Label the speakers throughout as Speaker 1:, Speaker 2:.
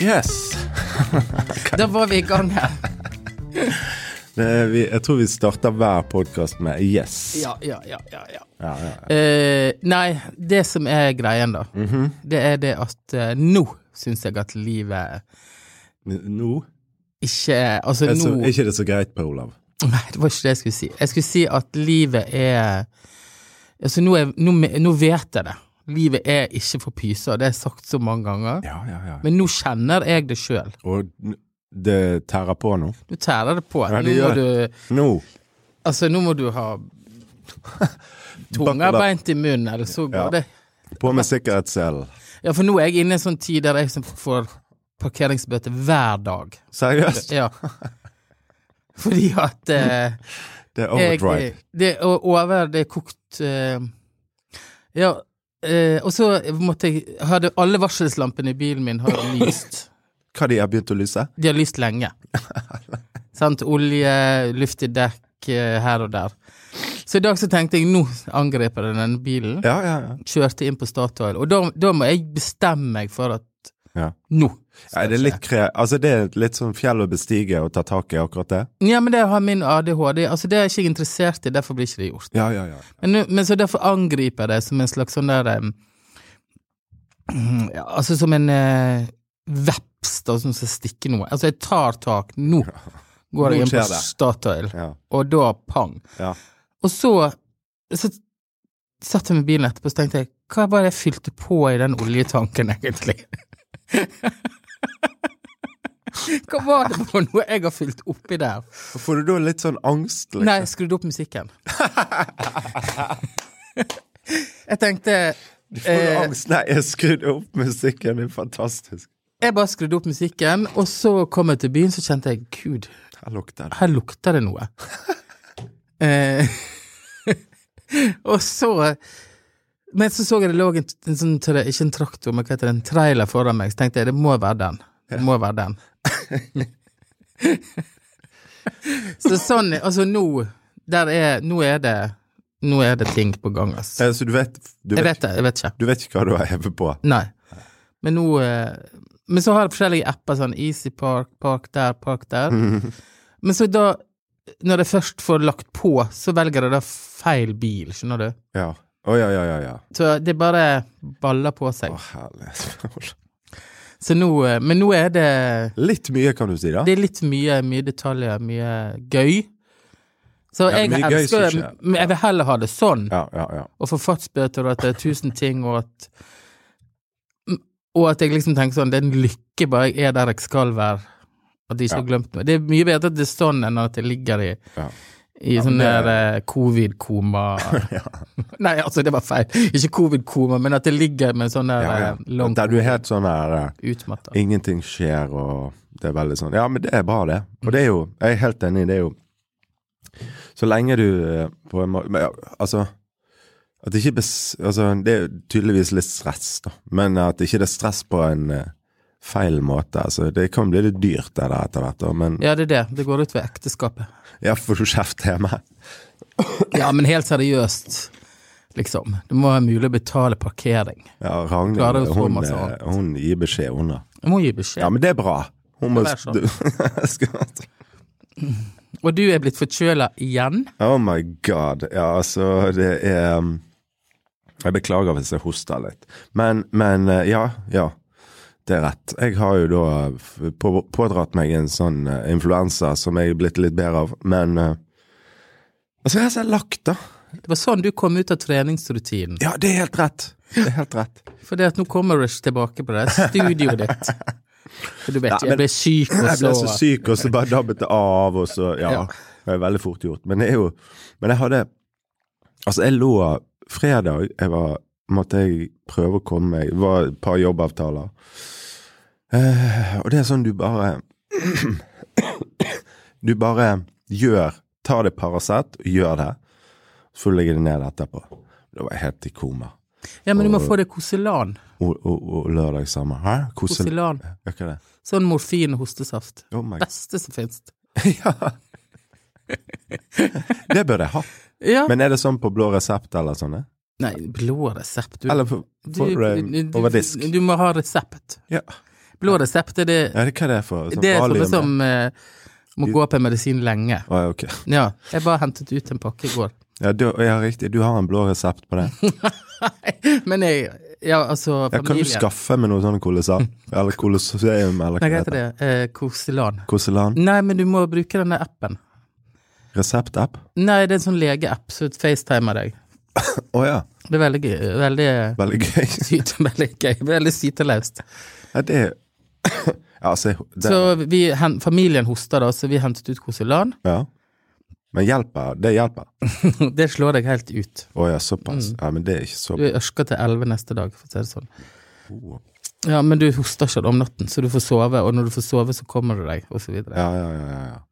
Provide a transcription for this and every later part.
Speaker 1: Yes!
Speaker 2: Da var vi i gang her.
Speaker 1: Det er vi, jeg tror vi starter hver podkast med yes.
Speaker 2: Ja, ja, ja, ja. ja.
Speaker 1: Ja, ja.
Speaker 2: Eh, nei, det som er greien, da, det er det at eh, nå syns jeg at livet
Speaker 1: Men Nå
Speaker 2: ikke er Altså,
Speaker 1: er, så,
Speaker 2: nå
Speaker 1: er ikke det så greit, Per Olav.
Speaker 2: Nei, det var ikke det jeg skulle si. Jeg skulle si at livet er Altså, nå, er, nå, me- nå vet jeg det. Livet er ikke for pyser, det har jeg sagt så mange ganger.
Speaker 1: Ja, ja, ja.
Speaker 2: Men nå kjenner jeg det sjøl.
Speaker 1: Og n- det tærer på nå.
Speaker 2: Nå tærer det på.
Speaker 1: Ja, det
Speaker 2: nå,
Speaker 1: gjør
Speaker 2: må du,
Speaker 1: Nå!
Speaker 2: altså, nå må du ha tunga
Speaker 1: Bakkelat.
Speaker 2: beint i munnen, eller så går
Speaker 1: Ja.
Speaker 2: det
Speaker 1: På med sikkerhetsselen.
Speaker 2: Ja, for nå er jeg inne i en sånn tid der jeg som får parkeringsbøter hver dag.
Speaker 1: Seriøst?
Speaker 2: Ja. Fordi at eh,
Speaker 1: Det er
Speaker 2: jeg
Speaker 1: overdrive.
Speaker 2: det, Og over det er kokt eh, Ja. Eh, og så måtte jeg hadde Alle varselslampene i bilen min har lyst.
Speaker 1: Hva de har begynt å lyse?
Speaker 2: De har lyst lenge. Sant? Olje, luft i dekk eh, her og der. Så i dag så tenkte jeg nå angriper jeg denne bilen.
Speaker 1: Ja, ja, ja.
Speaker 2: Kjørte inn på Statoil. Og da, da må jeg bestemme meg for at
Speaker 1: Ja.
Speaker 2: nå skal
Speaker 1: Nei, det er litt kre... Altså, det er litt sånn fjell å bestige og ta tak i akkurat det.
Speaker 2: Ja, men det har min ADHD. Altså, det er jeg ikke interessert i, derfor blir ikke det gjort.
Speaker 1: Ja, ja, ja.
Speaker 2: Men, nå- men så derfor angriper jeg det som en slags sånn der em, ja, Altså som en eh, veps da, som skal stikke noe. Altså, jeg tar tak. Nå går
Speaker 1: Nå
Speaker 2: jeg inn på
Speaker 1: skjer det.
Speaker 2: Statoil,
Speaker 1: Ja,
Speaker 2: og da pang.
Speaker 1: ja.
Speaker 2: Og så, så satt jeg med bilen etterpå og tenkte jeg, hva var det jeg fylte på i den oljetanken, egentlig? hva var det for noe jeg har fylt oppi der?
Speaker 1: Får du da litt sånn angst? Liksom?
Speaker 2: Nei, jeg skrudde opp musikken. jeg tenkte
Speaker 1: Får du
Speaker 2: eh,
Speaker 1: angst? Nei, jeg skrudde opp musikken. Det er fantastisk.
Speaker 2: Jeg bare skrudde opp musikken, og så kom jeg til byen, så kjente jeg Gud,
Speaker 1: Her lukter det.
Speaker 2: her lukter det noe. eh, og så Men så så jeg det lå en, en sånn tra- Ikke en traktor, men hva heter det, en trailer foran meg, så tenkte jeg det må være den. Det må være den. så sånn Altså, nå Der er Nå er det Nå er det ting på gang, ass.
Speaker 1: Eh, Så du vet, du,
Speaker 2: Jeg
Speaker 1: vet,
Speaker 2: vet det, jeg vet ikke.
Speaker 1: du vet ikke hva du har hevet på?
Speaker 2: Nei. Men nå eh, Men så har jeg forskjellige apper, sånn Easy Park, Park der, Park der. Men så da, når jeg først får lagt på, så velger jeg da feil bil, skjønner du.
Speaker 1: Ja. Å ja, ja, ja. ja.
Speaker 2: Så det bare baller på seg.
Speaker 1: Å, herlighet.
Speaker 2: Så nå eh, Men nå er det
Speaker 1: Litt mye, kan du si, da.
Speaker 2: Det er litt mye, mye detaljer, mye gøy. Så
Speaker 1: Ja,
Speaker 2: jeg
Speaker 1: mye gøy
Speaker 2: elsker
Speaker 1: som skjer.
Speaker 2: men Jeg vil heller ha det sånn.
Speaker 1: Ja, ja, ja.
Speaker 2: og forfattsbøter, og at det er tusen ting, og at Mm, Og at jeg liksom tenker sånn, det er en lykke bare jeg er der jeg skal være. At jeg ikke har glemt noe. Det er mye bedre at det er sånn enn at jeg ligger i,
Speaker 1: Ja.
Speaker 2: i sånn der eh, covid-koma Nei, altså, det var feil. Ikke covid-koma, men at jeg ligger med sånn der
Speaker 1: ja, ja.
Speaker 2: eh, langt
Speaker 1: Der du er helt sånn her eh,
Speaker 2: utmatta.
Speaker 1: Ingenting skjer, og det er veldig sånn Ja, men det er bra, det. Og det er jo Jeg er helt enig, det er jo Så lenge du eh, på en måte men, ja, Altså At det ikke bes... Altså, det er jo tydeligvis litt stress, da. Men at ikke det er stress på en eh, feil måte. Altså, det kan bli litt dyrt, det der etter hvert, da, men
Speaker 2: Ja, det er det. Det går ut ved ekteskapet.
Speaker 1: Ja, får du kjeft hjemme?
Speaker 2: Ja, men helt seriøst, liksom. Det må være mulig å betale parkering.
Speaker 1: Ja,
Speaker 2: Klarer
Speaker 1: Ragnhild,
Speaker 2: å få
Speaker 1: hun,
Speaker 2: masse
Speaker 1: eh,
Speaker 2: annet.
Speaker 1: hun gir beskjed, hun, da.
Speaker 2: Jeg må gi beskjed.
Speaker 1: Ja, men det er bra. Hun må
Speaker 2: Det er
Speaker 1: du-
Speaker 2: Og du er blitt forkjøla igjen.
Speaker 1: Oh my god. Ja, altså, det er um, Jeg beklager hvis jeg hoster litt. Men, men eh, ja, ja. Det er rett. Jeg har jo da f- på, pådratt meg en sånn eh, influensa som jeg er blitt litt bedre av, men eh, Altså, jeg har så lagt, da.
Speaker 2: Det var sånn du kom ut av treningsrutinen.
Speaker 1: Ja, det er helt rett. Det er helt rett.
Speaker 2: For det at nå kommer Rush tilbake på det studioet ditt. For du vet,
Speaker 1: Ja, men-
Speaker 2: jeg ble syk, og
Speaker 1: Jeg
Speaker 2: så,
Speaker 1: ble så syk, og så bare dabbet det av, og så Ja.
Speaker 2: Ja.
Speaker 1: Det er veldig fort gjort. Men det er jo Men jeg hadde Altså, jeg lå fredag jeg var, Måtte jeg prøve å komme meg Det var et par jobbavtaler. Eh, og det er sånn du bare Du bare gjør Ta det Paracet, gjør det. Så får du legge det ned etterpå. Da var jeg helt i koma.
Speaker 2: Ja, men du må få deg Koselan.
Speaker 1: Og, og, og lørdag samme. Hæ? Hvordan
Speaker 2: Koselan.
Speaker 1: Gjør ikke det?
Speaker 2: Sånn morfin og hostesaft.
Speaker 1: Oh my
Speaker 2: Beste som finnes.
Speaker 1: Ja. Det bør jeg ha.
Speaker 2: Ja.
Speaker 1: Men er det sånn på blå resept eller sånne?
Speaker 2: Nei, blå resept. Du,
Speaker 1: Eller på, på,
Speaker 2: du-
Speaker 1: eh,
Speaker 2: du- du-
Speaker 1: over disk?
Speaker 2: Du må ha resept.
Speaker 1: Ja.
Speaker 2: Blå resept er det
Speaker 1: Ja, det, hva er det for? Sånn
Speaker 2: Det er
Speaker 1: valium,
Speaker 2: sånne
Speaker 1: ja.
Speaker 2: som eh, må gå på medisin lenge.
Speaker 1: Å, ja, ok.
Speaker 2: Ja. Jeg bare hentet ut en pakke i går.
Speaker 1: Ja, du, ja, riktig. Du har en blå resept på det.
Speaker 2: Men jeg Ja,
Speaker 1: Ja,
Speaker 2: altså,
Speaker 1: kan du
Speaker 2: familien
Speaker 1: skaffe med noe sånn kolesan? Eller koloseum, eller
Speaker 2: Nei,
Speaker 1: hva det
Speaker 2: hva heter
Speaker 1: heter.
Speaker 2: det? Eh, Koselan.
Speaker 1: Koselan?
Speaker 2: Nei, men du må bruke denne appen.
Speaker 1: Reseptapp?
Speaker 2: Nei, det er en sånn legeapp som facetimer deg.
Speaker 1: Å ja.
Speaker 2: Det er veldig gøy. Veldig
Speaker 1: Veldig gøy.
Speaker 2: syt, veldig gøy. Veldig sytelaust.
Speaker 1: Ja, det er Ja, altså jeg- det,
Speaker 2: Så vi, hen, familien hoster, da, så vi hentet ut Koselan.
Speaker 1: ja. Men hjelper. Det hjelper.
Speaker 2: Det slår deg helt ut.
Speaker 1: Å ja, såpass. Ja, men det er ikke så
Speaker 2: Mm. Du er ørska til elleve neste dag, for å si det sånn.
Speaker 1: bra.
Speaker 2: Ja, men du hoster ikke om natten, så du får sove, og når du får sove, så kommer du deg, og så videre.
Speaker 1: Ja, ja, ja. ja, ja.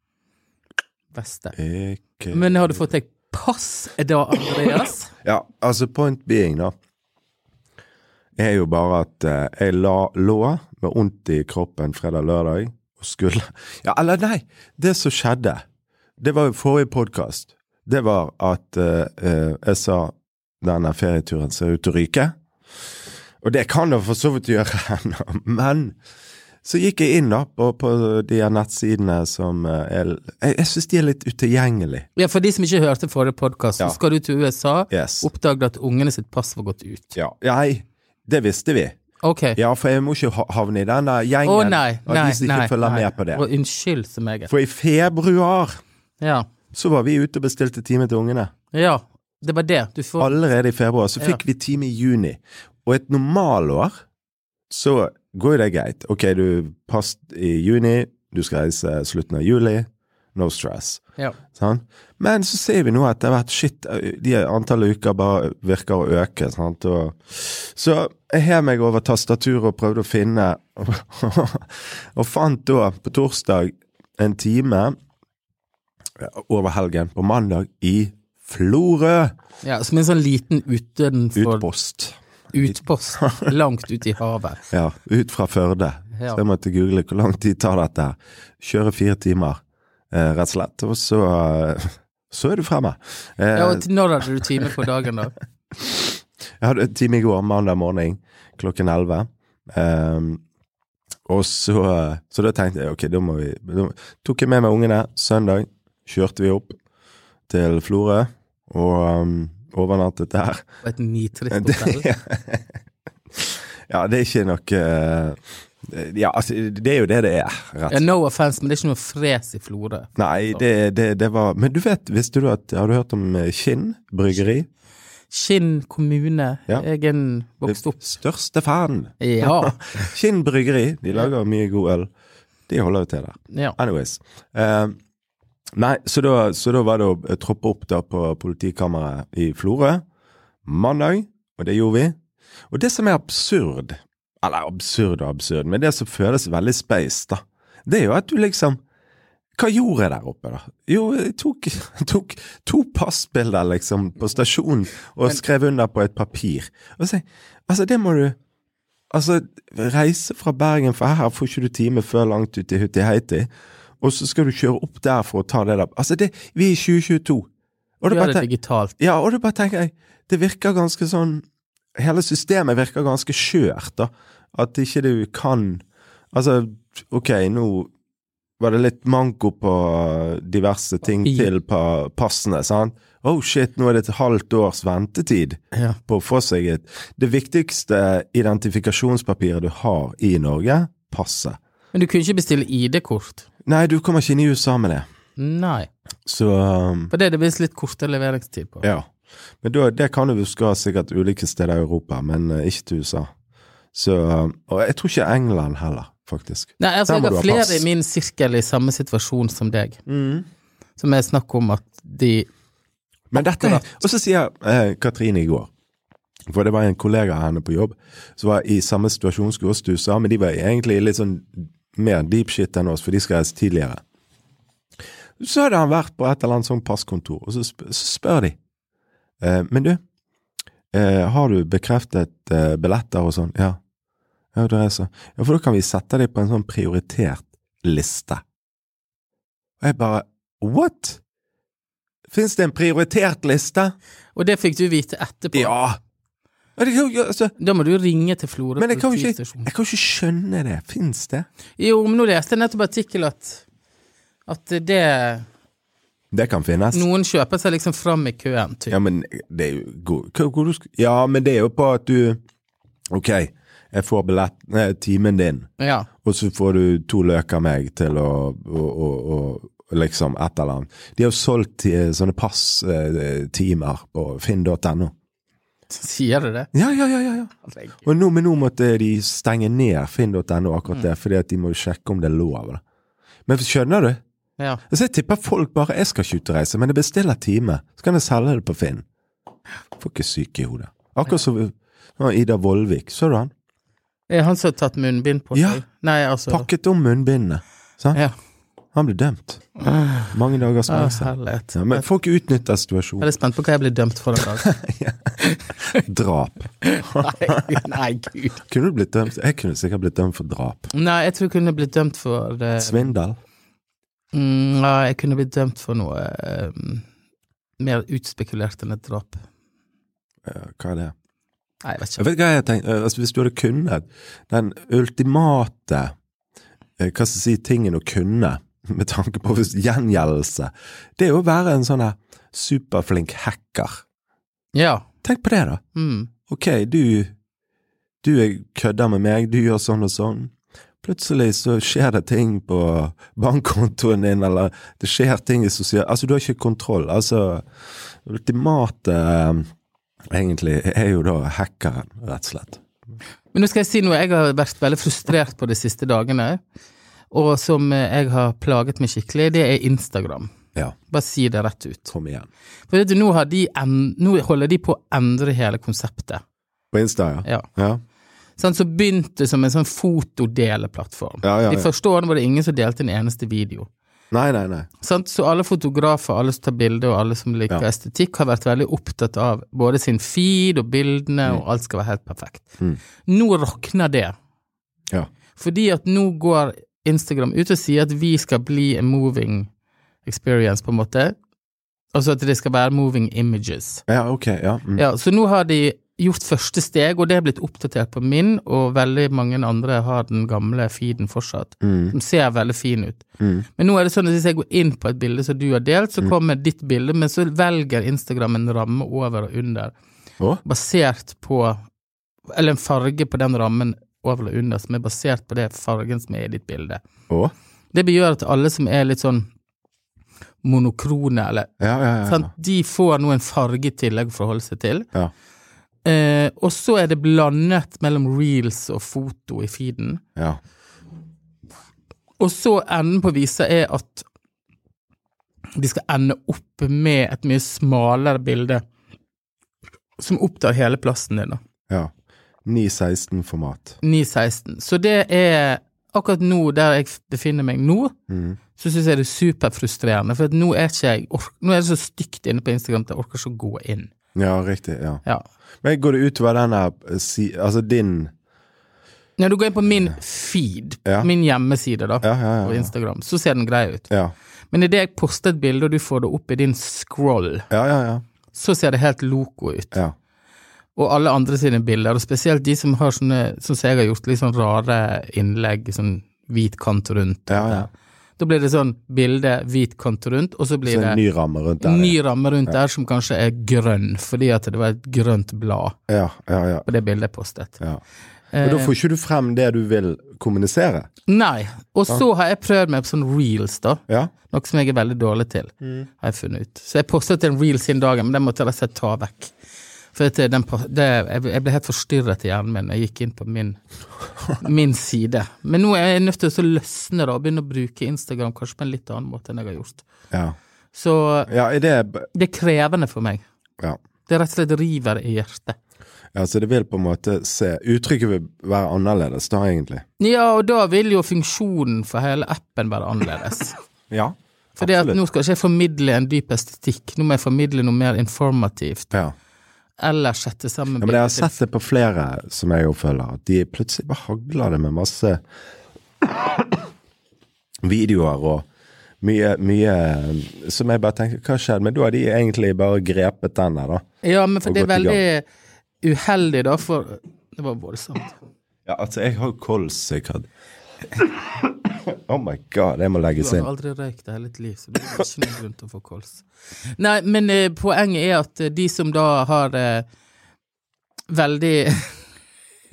Speaker 2: Beste.
Speaker 1: Ikke
Speaker 2: Men har du fått deg pass da, Andreas?
Speaker 1: Ja, altså point being, da, er jo bare at eh, jeg la, lå med vondt i kroppen fredag-lørdag og skulle Ja, eller nei! Det som skjedde, det var i forrige podkast, det var at eh, eh, jeg sa denne ferieturen ser ut til å ryke. Og det kan det for så vidt gjøre ennå, men så gikk jeg inn da på, på de her nettsidene som eh, er Jeg, jeg syns de er litt utilgjengelige.
Speaker 2: Ja, for de som ikke hørte forrige podkast,
Speaker 1: Ja.
Speaker 2: så skal du til USA.
Speaker 1: Yes.
Speaker 2: Oppdaget at ungene sitt pass var gått ut.
Speaker 1: Ja. Nei, det visste vi.
Speaker 2: Ok.
Speaker 1: Ja, for jeg må ikke ha- havne i den der gjengen
Speaker 2: Å nei,
Speaker 1: av
Speaker 2: nei,
Speaker 1: de som ikke
Speaker 2: nei.
Speaker 1: følger
Speaker 2: nei.
Speaker 1: med på det.
Speaker 2: Og unnskyld så meget.
Speaker 1: For i februar
Speaker 2: Ja.
Speaker 1: så var vi ute og bestilte time til ungene.
Speaker 2: ja. Det var det. Du får
Speaker 1: Allerede i februar. Så fikk vi time i juni. Og et normalår så går jo det greit. Ok, du pass i juni, du skal reise slutten av juli. No stress.
Speaker 2: ja.
Speaker 1: Sant? Men så ser vi nå etter hvert shit, de antallet uker bare virker å øke. Sant? Og, så jeg hev meg over tastaturet og prøvde å finne, og fant da på torsdag en time over helgen, på mandag, i Florø
Speaker 2: ja. Som en sånn liten utenfor
Speaker 1: utpost.
Speaker 2: utpost. Langt ut i havet.
Speaker 1: Ja, ut fra Førde.
Speaker 2: Ja.
Speaker 1: Så jeg måtte google hvor lang tid tar dette her. Kjøre fire timer, eh, rett og slett. Og så, eh, så er du fremme. Eh,
Speaker 2: Ja, og til når hadde du time på dagen, da?
Speaker 1: Jeg hadde en time i går, mandag morgen, klokken 11. Ehm, og så, så da tenkte jeg, ok, da må vi da må- Tok jeg med meg ungene søndag, kjørte vi opp til Florø og um, overnattet der.
Speaker 2: På et nitrist hotell?
Speaker 1: ja, det er ikke noe eh, Ja, altså, det er jo det det er, rett
Speaker 2: Ja, no offense, men det er ikke noe fres i Florø.
Speaker 1: Nei, det, det, det var Men du vet, visste du at Har du hørt om eh, Kinn bryggeri?
Speaker 2: Kinn kommune.
Speaker 1: Ja.
Speaker 2: Jeg er en vokst opp
Speaker 1: Største fan.
Speaker 2: Ja.
Speaker 1: Kinn bryggeri, de lager mye god øl. De holder jo til der.
Speaker 2: ja.
Speaker 1: Anyways. Eh, nei, så da, så da var det å eh, troppe opp da på politikammeret i Florø mandag, og det gjorde vi. Og det som er absurd, eller absurd og absurd, men det som føles veldig space, da, det er jo at du liksom hva gjorde jeg der oppe, da? Jo, jeg tok, tok to passbilder, liksom, på stasjonen, og skrev under på et papir. Og så, altså, det må du Altså, reise fra Bergen, for her får ikke du time før langt ut i Hutti Heiti. Og så skal du kjøre opp der for å ta det der. Altså, det, vi er i 2022. Og
Speaker 2: Du
Speaker 1: det
Speaker 2: gjør
Speaker 1: bare
Speaker 2: det
Speaker 1: tenk,
Speaker 2: digitalt.
Speaker 1: ja, og det bare tenker jeg, det virker ganske sånn Hele systemet virker ganske skjørt, da. At ikke du kan Altså, ok, nå var det litt manko på diverse ting
Speaker 2: Papir.
Speaker 1: til på passene, sant? Oh shit, nå er det et halvt års ventetid
Speaker 2: Ja.
Speaker 1: på å få seg et Det viktigste identifikasjonspapiret du har i Norge, passet.
Speaker 2: Men du kunne ikke bestille ID-kort?
Speaker 1: Nei, du kommer ikke inn i USA med det.
Speaker 2: Nei.
Speaker 1: Så um,
Speaker 2: For det er det visst litt kortere leveringstid på.
Speaker 1: Ja. Men da, det kan du huske av sikkert ulike steder i Europa, men eh, ikke til USA. Så, eh, og jeg tror ikke England heller, faktisk.
Speaker 2: Nei, altså,
Speaker 1: Der må
Speaker 2: jeg
Speaker 1: du
Speaker 2: har
Speaker 1: ha
Speaker 2: flere
Speaker 1: pass.
Speaker 2: i min sirkel i samme situasjon som deg, som er snakk om at de
Speaker 1: Men dette Og så sier eh, Katrine i går For det var en kollega av henne på jobb som var i samme situasjon som oss du sa, men de var egentlig litt sånn mer deep shit enn oss, for de skal reise tidligere. Så hadde han vært på et eller annet sånn passkontor, og så, sp så spør de eh, Men du, eh, har du bekreftet eh, billetter og sånn? Ja. Ja, det er så. ja, for da kan vi sette deg på en sånn prioritert liste. Og jeg bare What? Fins det en prioritert liste?
Speaker 2: Og det fikk du vite etterpå.
Speaker 1: Ja! Men jeg kan jo- altså,
Speaker 2: Da må du ringe til Florø
Speaker 1: men jeg kan jo ikke,
Speaker 2: politistasjon.
Speaker 1: jeg kan jo ikke skjønne det. Fins det?
Speaker 2: Jo, men nå leste jeg nettopp artikkel at, at det
Speaker 1: Det kan finnes.
Speaker 2: Noen kjøper seg liksom fram i køen, typ.
Speaker 1: Ja, men det er jo god- hva- hvor du sk- Ja, men det er jo på at du Ok, jeg får billett, nei, timen din,
Speaker 2: Ja.
Speaker 1: og så får du to løker av meg til å, å, å, å liksom et eller annet. De har jo solgt eh, sånne passtimer på finn.no.
Speaker 2: Sier du det?
Speaker 1: Ja, ja, ja, ja, ja.
Speaker 2: Herregud.
Speaker 1: Og nå, men nå måtte de stenge ned finn.no akkurat det, fordi at de må jo sjekke om det er lov. da. Men skjønner du?
Speaker 2: Ja.
Speaker 1: Altså, jeg tipper folk bare jeg skal ikke ut og reise, men jeg bestiller time. Så kan jeg selge det på Finn. Får ikke syke i hodet. Akkurat som nå, Ida Vollvik. Så du han?
Speaker 2: Er det han som har tatt munnbind på seg?
Speaker 1: Ja.
Speaker 2: Nei, altså
Speaker 1: Pakket om munnbindet. Sant?
Speaker 2: Ja.
Speaker 1: Han ble dømt. Mange dagers
Speaker 2: Å,
Speaker 1: fengsel.
Speaker 2: herlighet.
Speaker 1: Ja, men folk utnytter situasjonen.
Speaker 2: Jeg er spent på hva jeg blir dømt for en dag.
Speaker 1: Drap.
Speaker 2: Nei, nei, gud.
Speaker 1: Kunne du blitt dømt? Jeg kunne sikkert blitt dømt for drap.
Speaker 2: Nei, jeg tror jeg kunne blitt dømt for eh,
Speaker 1: Svindel.
Speaker 2: mm, Ja, jeg kunne blitt dømt for noe eh, mer utspekulert enn et drap.
Speaker 1: Ja, Eh, Hva er det?
Speaker 2: Nei, jeg vet
Speaker 1: Jeg
Speaker 2: ikke.
Speaker 1: vet hva jeg tenkte, eh, altså Hvis du hadde kunnet den ultimate eh, Hva skal jeg si tingen å kunne, med tanke på hvis- gjengjeldelse, det er jo å være en sånn her superflink hacker.
Speaker 2: Ja.
Speaker 1: Tenk på det, da.
Speaker 2: Mm.
Speaker 1: Ok, du, du er- kødder med meg, du gjør sånn og sånn. Plutselig så skjer det ting på bankkontoen din, eller det skjer ting i sosial... Altså, du har ikke kontroll. Altså, ultimate eh, egentlig er jo da hackeren, rett og slett.
Speaker 2: Men nå skal jeg si noe jeg har vært veldig frustrert på de siste dagene, og som eh, jeg har plaget meg skikkelig, det er Instagram.
Speaker 1: Ja,
Speaker 2: Bare si det rett ut.
Speaker 1: kom igjen.
Speaker 2: For vet du, nå, har de en, nå holder de på å endre hele konseptet.
Speaker 1: På Insta, ja.
Speaker 2: Ja.
Speaker 1: Ja,
Speaker 2: Sånn, så begynte det som en sånn fotodeleplattform.
Speaker 1: ja, ja,
Speaker 2: De
Speaker 1: ja.
Speaker 2: første årene var det ingen som delte en eneste video.
Speaker 1: Nei, nei, nei.
Speaker 2: Sant? Så alle fotografer, alle som tar bilder og alle som liker
Speaker 1: Ja.
Speaker 2: estetikk, har vært veldig opptatt av både sin feed og bildene, og alt skal være helt perfekt.
Speaker 1: Mm.
Speaker 2: Nå rakner det.
Speaker 1: Ja.
Speaker 2: Fordi at nå går Instagram ut og sier at vi skal bli en moving experience, på en måte. Altså at det skal være moving images.
Speaker 1: Ja, ok, ja. Mm.
Speaker 2: Ja, så nå har de gjort første steg, og det er blitt oppdatert på min, og veldig mange andre har den gamle feeden fortsatt.
Speaker 1: Mm.
Speaker 2: Den ser veldig fin ut.
Speaker 1: Mm.
Speaker 2: Men nå er det sånn at hvis jeg går inn på et bilde som du har delt, så kommer ditt bilde, men så velger Instagram en ramme over og under,
Speaker 1: Å?
Speaker 2: basert på Eller en farge på den rammen over og under som er basert på det fargen som er i ditt bilde.
Speaker 1: Å?
Speaker 2: Det begjør at alle som er litt sånn monokrone, eller
Speaker 1: Ja, ja, ja.
Speaker 2: sant, de får nå en farge i tillegg å forholde seg til.
Speaker 1: Ja.
Speaker 2: Eh, og så er det blandet mellom reels og foto i feeden.
Speaker 1: ja.
Speaker 2: Og så enden på visa er at de skal ende opp med et mye smalere bilde som opptar hele plassen din. da.
Speaker 1: ja. 9-16-format.
Speaker 2: 9.16. Så det er akkurat nå, der jeg befinner meg nå,
Speaker 1: Mm.
Speaker 2: så syns jeg det er superfrustrerende. For at nå er ikke jeg ork Nå er det så stygt inne på Instagram at jeg orker ikke å gå inn.
Speaker 1: Ja, riktig. ja.
Speaker 2: Ja.
Speaker 1: Men Går det utover den her eh, si, Altså din
Speaker 2: Når du går inn på min feed,
Speaker 1: Ja.
Speaker 2: min hjemmeside, da,
Speaker 1: Ja, ja, ja.
Speaker 2: på
Speaker 1: ja.
Speaker 2: Instagram, så ser den grei ut.
Speaker 1: Ja,
Speaker 2: Men idet jeg poster et bilde, og du får det opp i din scroll,
Speaker 1: ja, ja. ja.
Speaker 2: så ser det helt loco ut.
Speaker 1: ja.
Speaker 2: Og alle andre sine bilder, og spesielt de som har sånne, sånn som jeg har gjort, litt sånn rare innlegg, sånn hvit kant rundt.
Speaker 1: Ja, ja.
Speaker 2: Da blir det sånn bilde, hvit kant rundt, og
Speaker 1: Så
Speaker 2: så blir
Speaker 1: en
Speaker 2: det
Speaker 1: ny ramme rundt der.
Speaker 2: en ny ramme rundt der som kanskje er grønn, fordi at det var et grønt blad
Speaker 1: Ja, ja, ja.
Speaker 2: på det bildet jeg postet.
Speaker 1: ja. Men da
Speaker 2: Eh.
Speaker 1: får ikke du frem det du vil kommunisere.
Speaker 2: Nei. Og så har jeg prøvd meg på sånn reels, da.
Speaker 1: Ja,
Speaker 2: Noe som jeg er veldig dårlig til,
Speaker 1: Mm.
Speaker 2: har jeg funnet ut. Så jeg postet en reel siden dagen, men den måtte jeg rett og slett ta vekk. For at eh, den, pa- det, jeg jeg ble helt forstyrret i hjernen min når jeg gikk inn på min, min side. Men nå er jeg nødt til å så løsne da, og begynne å bruke Instagram kanskje på en litt annen måte enn jeg har gjort.
Speaker 1: ja.
Speaker 2: Så eh,
Speaker 1: Ja, er det b-
Speaker 2: det er krevende for meg.
Speaker 1: Ja.
Speaker 2: Det rett og slett river i hjertet.
Speaker 1: ja så det vil på en måte se Uttrykket vil være annerledes da, egentlig.
Speaker 2: Ja, og da vil jo funksjonen for hele appen være annerledes.
Speaker 1: Ja.
Speaker 2: For det at
Speaker 1: absolutt.
Speaker 2: nå skal ikke jeg formidle en dyp estetikk, nå må jeg formidle noe mer informativt.
Speaker 1: Ja.
Speaker 2: Eller sette sammen
Speaker 1: Ja, men jeg har
Speaker 2: bilder til-
Speaker 1: sett det på flere som jeg oppfølger, at de plutselig bare hagler det med masse videoer og mye, mye eh, som jeg bare tenker Hva skjedde? Men da har de egentlig bare grepet den der, da.
Speaker 2: Ja, men for
Speaker 1: og
Speaker 2: det er
Speaker 1: gått i
Speaker 2: veldig uheldig, da, for Det var voldsomt.
Speaker 1: Ja, altså, jeg har jo kols jeg hadde. Oh my god, jeg må
Speaker 2: Du
Speaker 1: legges
Speaker 2: har
Speaker 1: inn.
Speaker 2: aldri røykt i hele ditt liv, så du har ikke noen grunn til å få kols. Nei, men eh, poenget er at eh, de som da har eh, veldig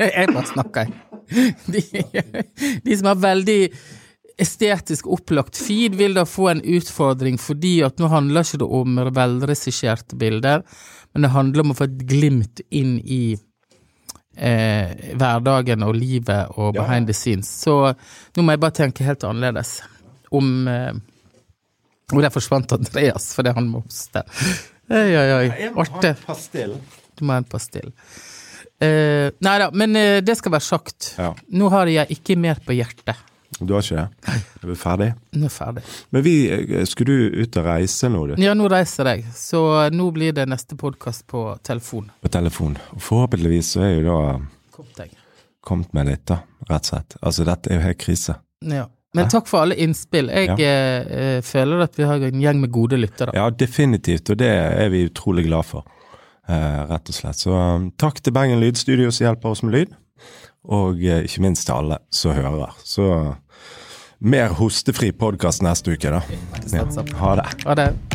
Speaker 2: Jeg bare snakker, jeg. De, de som har veldig estetisk opplagt feed, vil da få en utfordring, fordi at nå handler ikke det om velregisserte bilder, men det handler om å få et glimt inn i eh, hverdagen og livet og
Speaker 1: Ja.
Speaker 2: behind the scenes. Så nå må jeg bare tenke helt annerledes om eh, Og der forsvant Andreas fordi han moste. Oi, oi, oi. Artig.
Speaker 1: pastill.
Speaker 2: Du må ha en pastill. Uh, nei da, men eh, det skal være sagt.
Speaker 1: Ja.
Speaker 2: Nå har jeg ikke mer på hjertet.
Speaker 1: Du har ikke det? Er vi ferdig?
Speaker 2: Nå er jeg ferdig.
Speaker 1: Men vi eh, Skulle du ut og reise nå, du?
Speaker 2: Ja, nå reiser jeg, så eh, nå blir det neste podkast på telefon.
Speaker 1: På telefon. Og forhåpentligvis så er jo da
Speaker 2: Kom deg.
Speaker 1: kommet med litt, da. Rett og slett. Altså, dette er jo helt krise.
Speaker 2: Ja. Men takk for alle innspill. Jeg eh, eh, føler at vi har en gjeng med gode lyttere.
Speaker 1: Ja, definitivt, og det er vi utrolig glad for. eh, rett og slett. Så um, takk til Bergen Lydstudio som hjelper oss med lyd, og eh, ikke minst til alle som hører. Så mer hostefri podkast neste uke, da. Ja. Ha det.
Speaker 2: Ha det.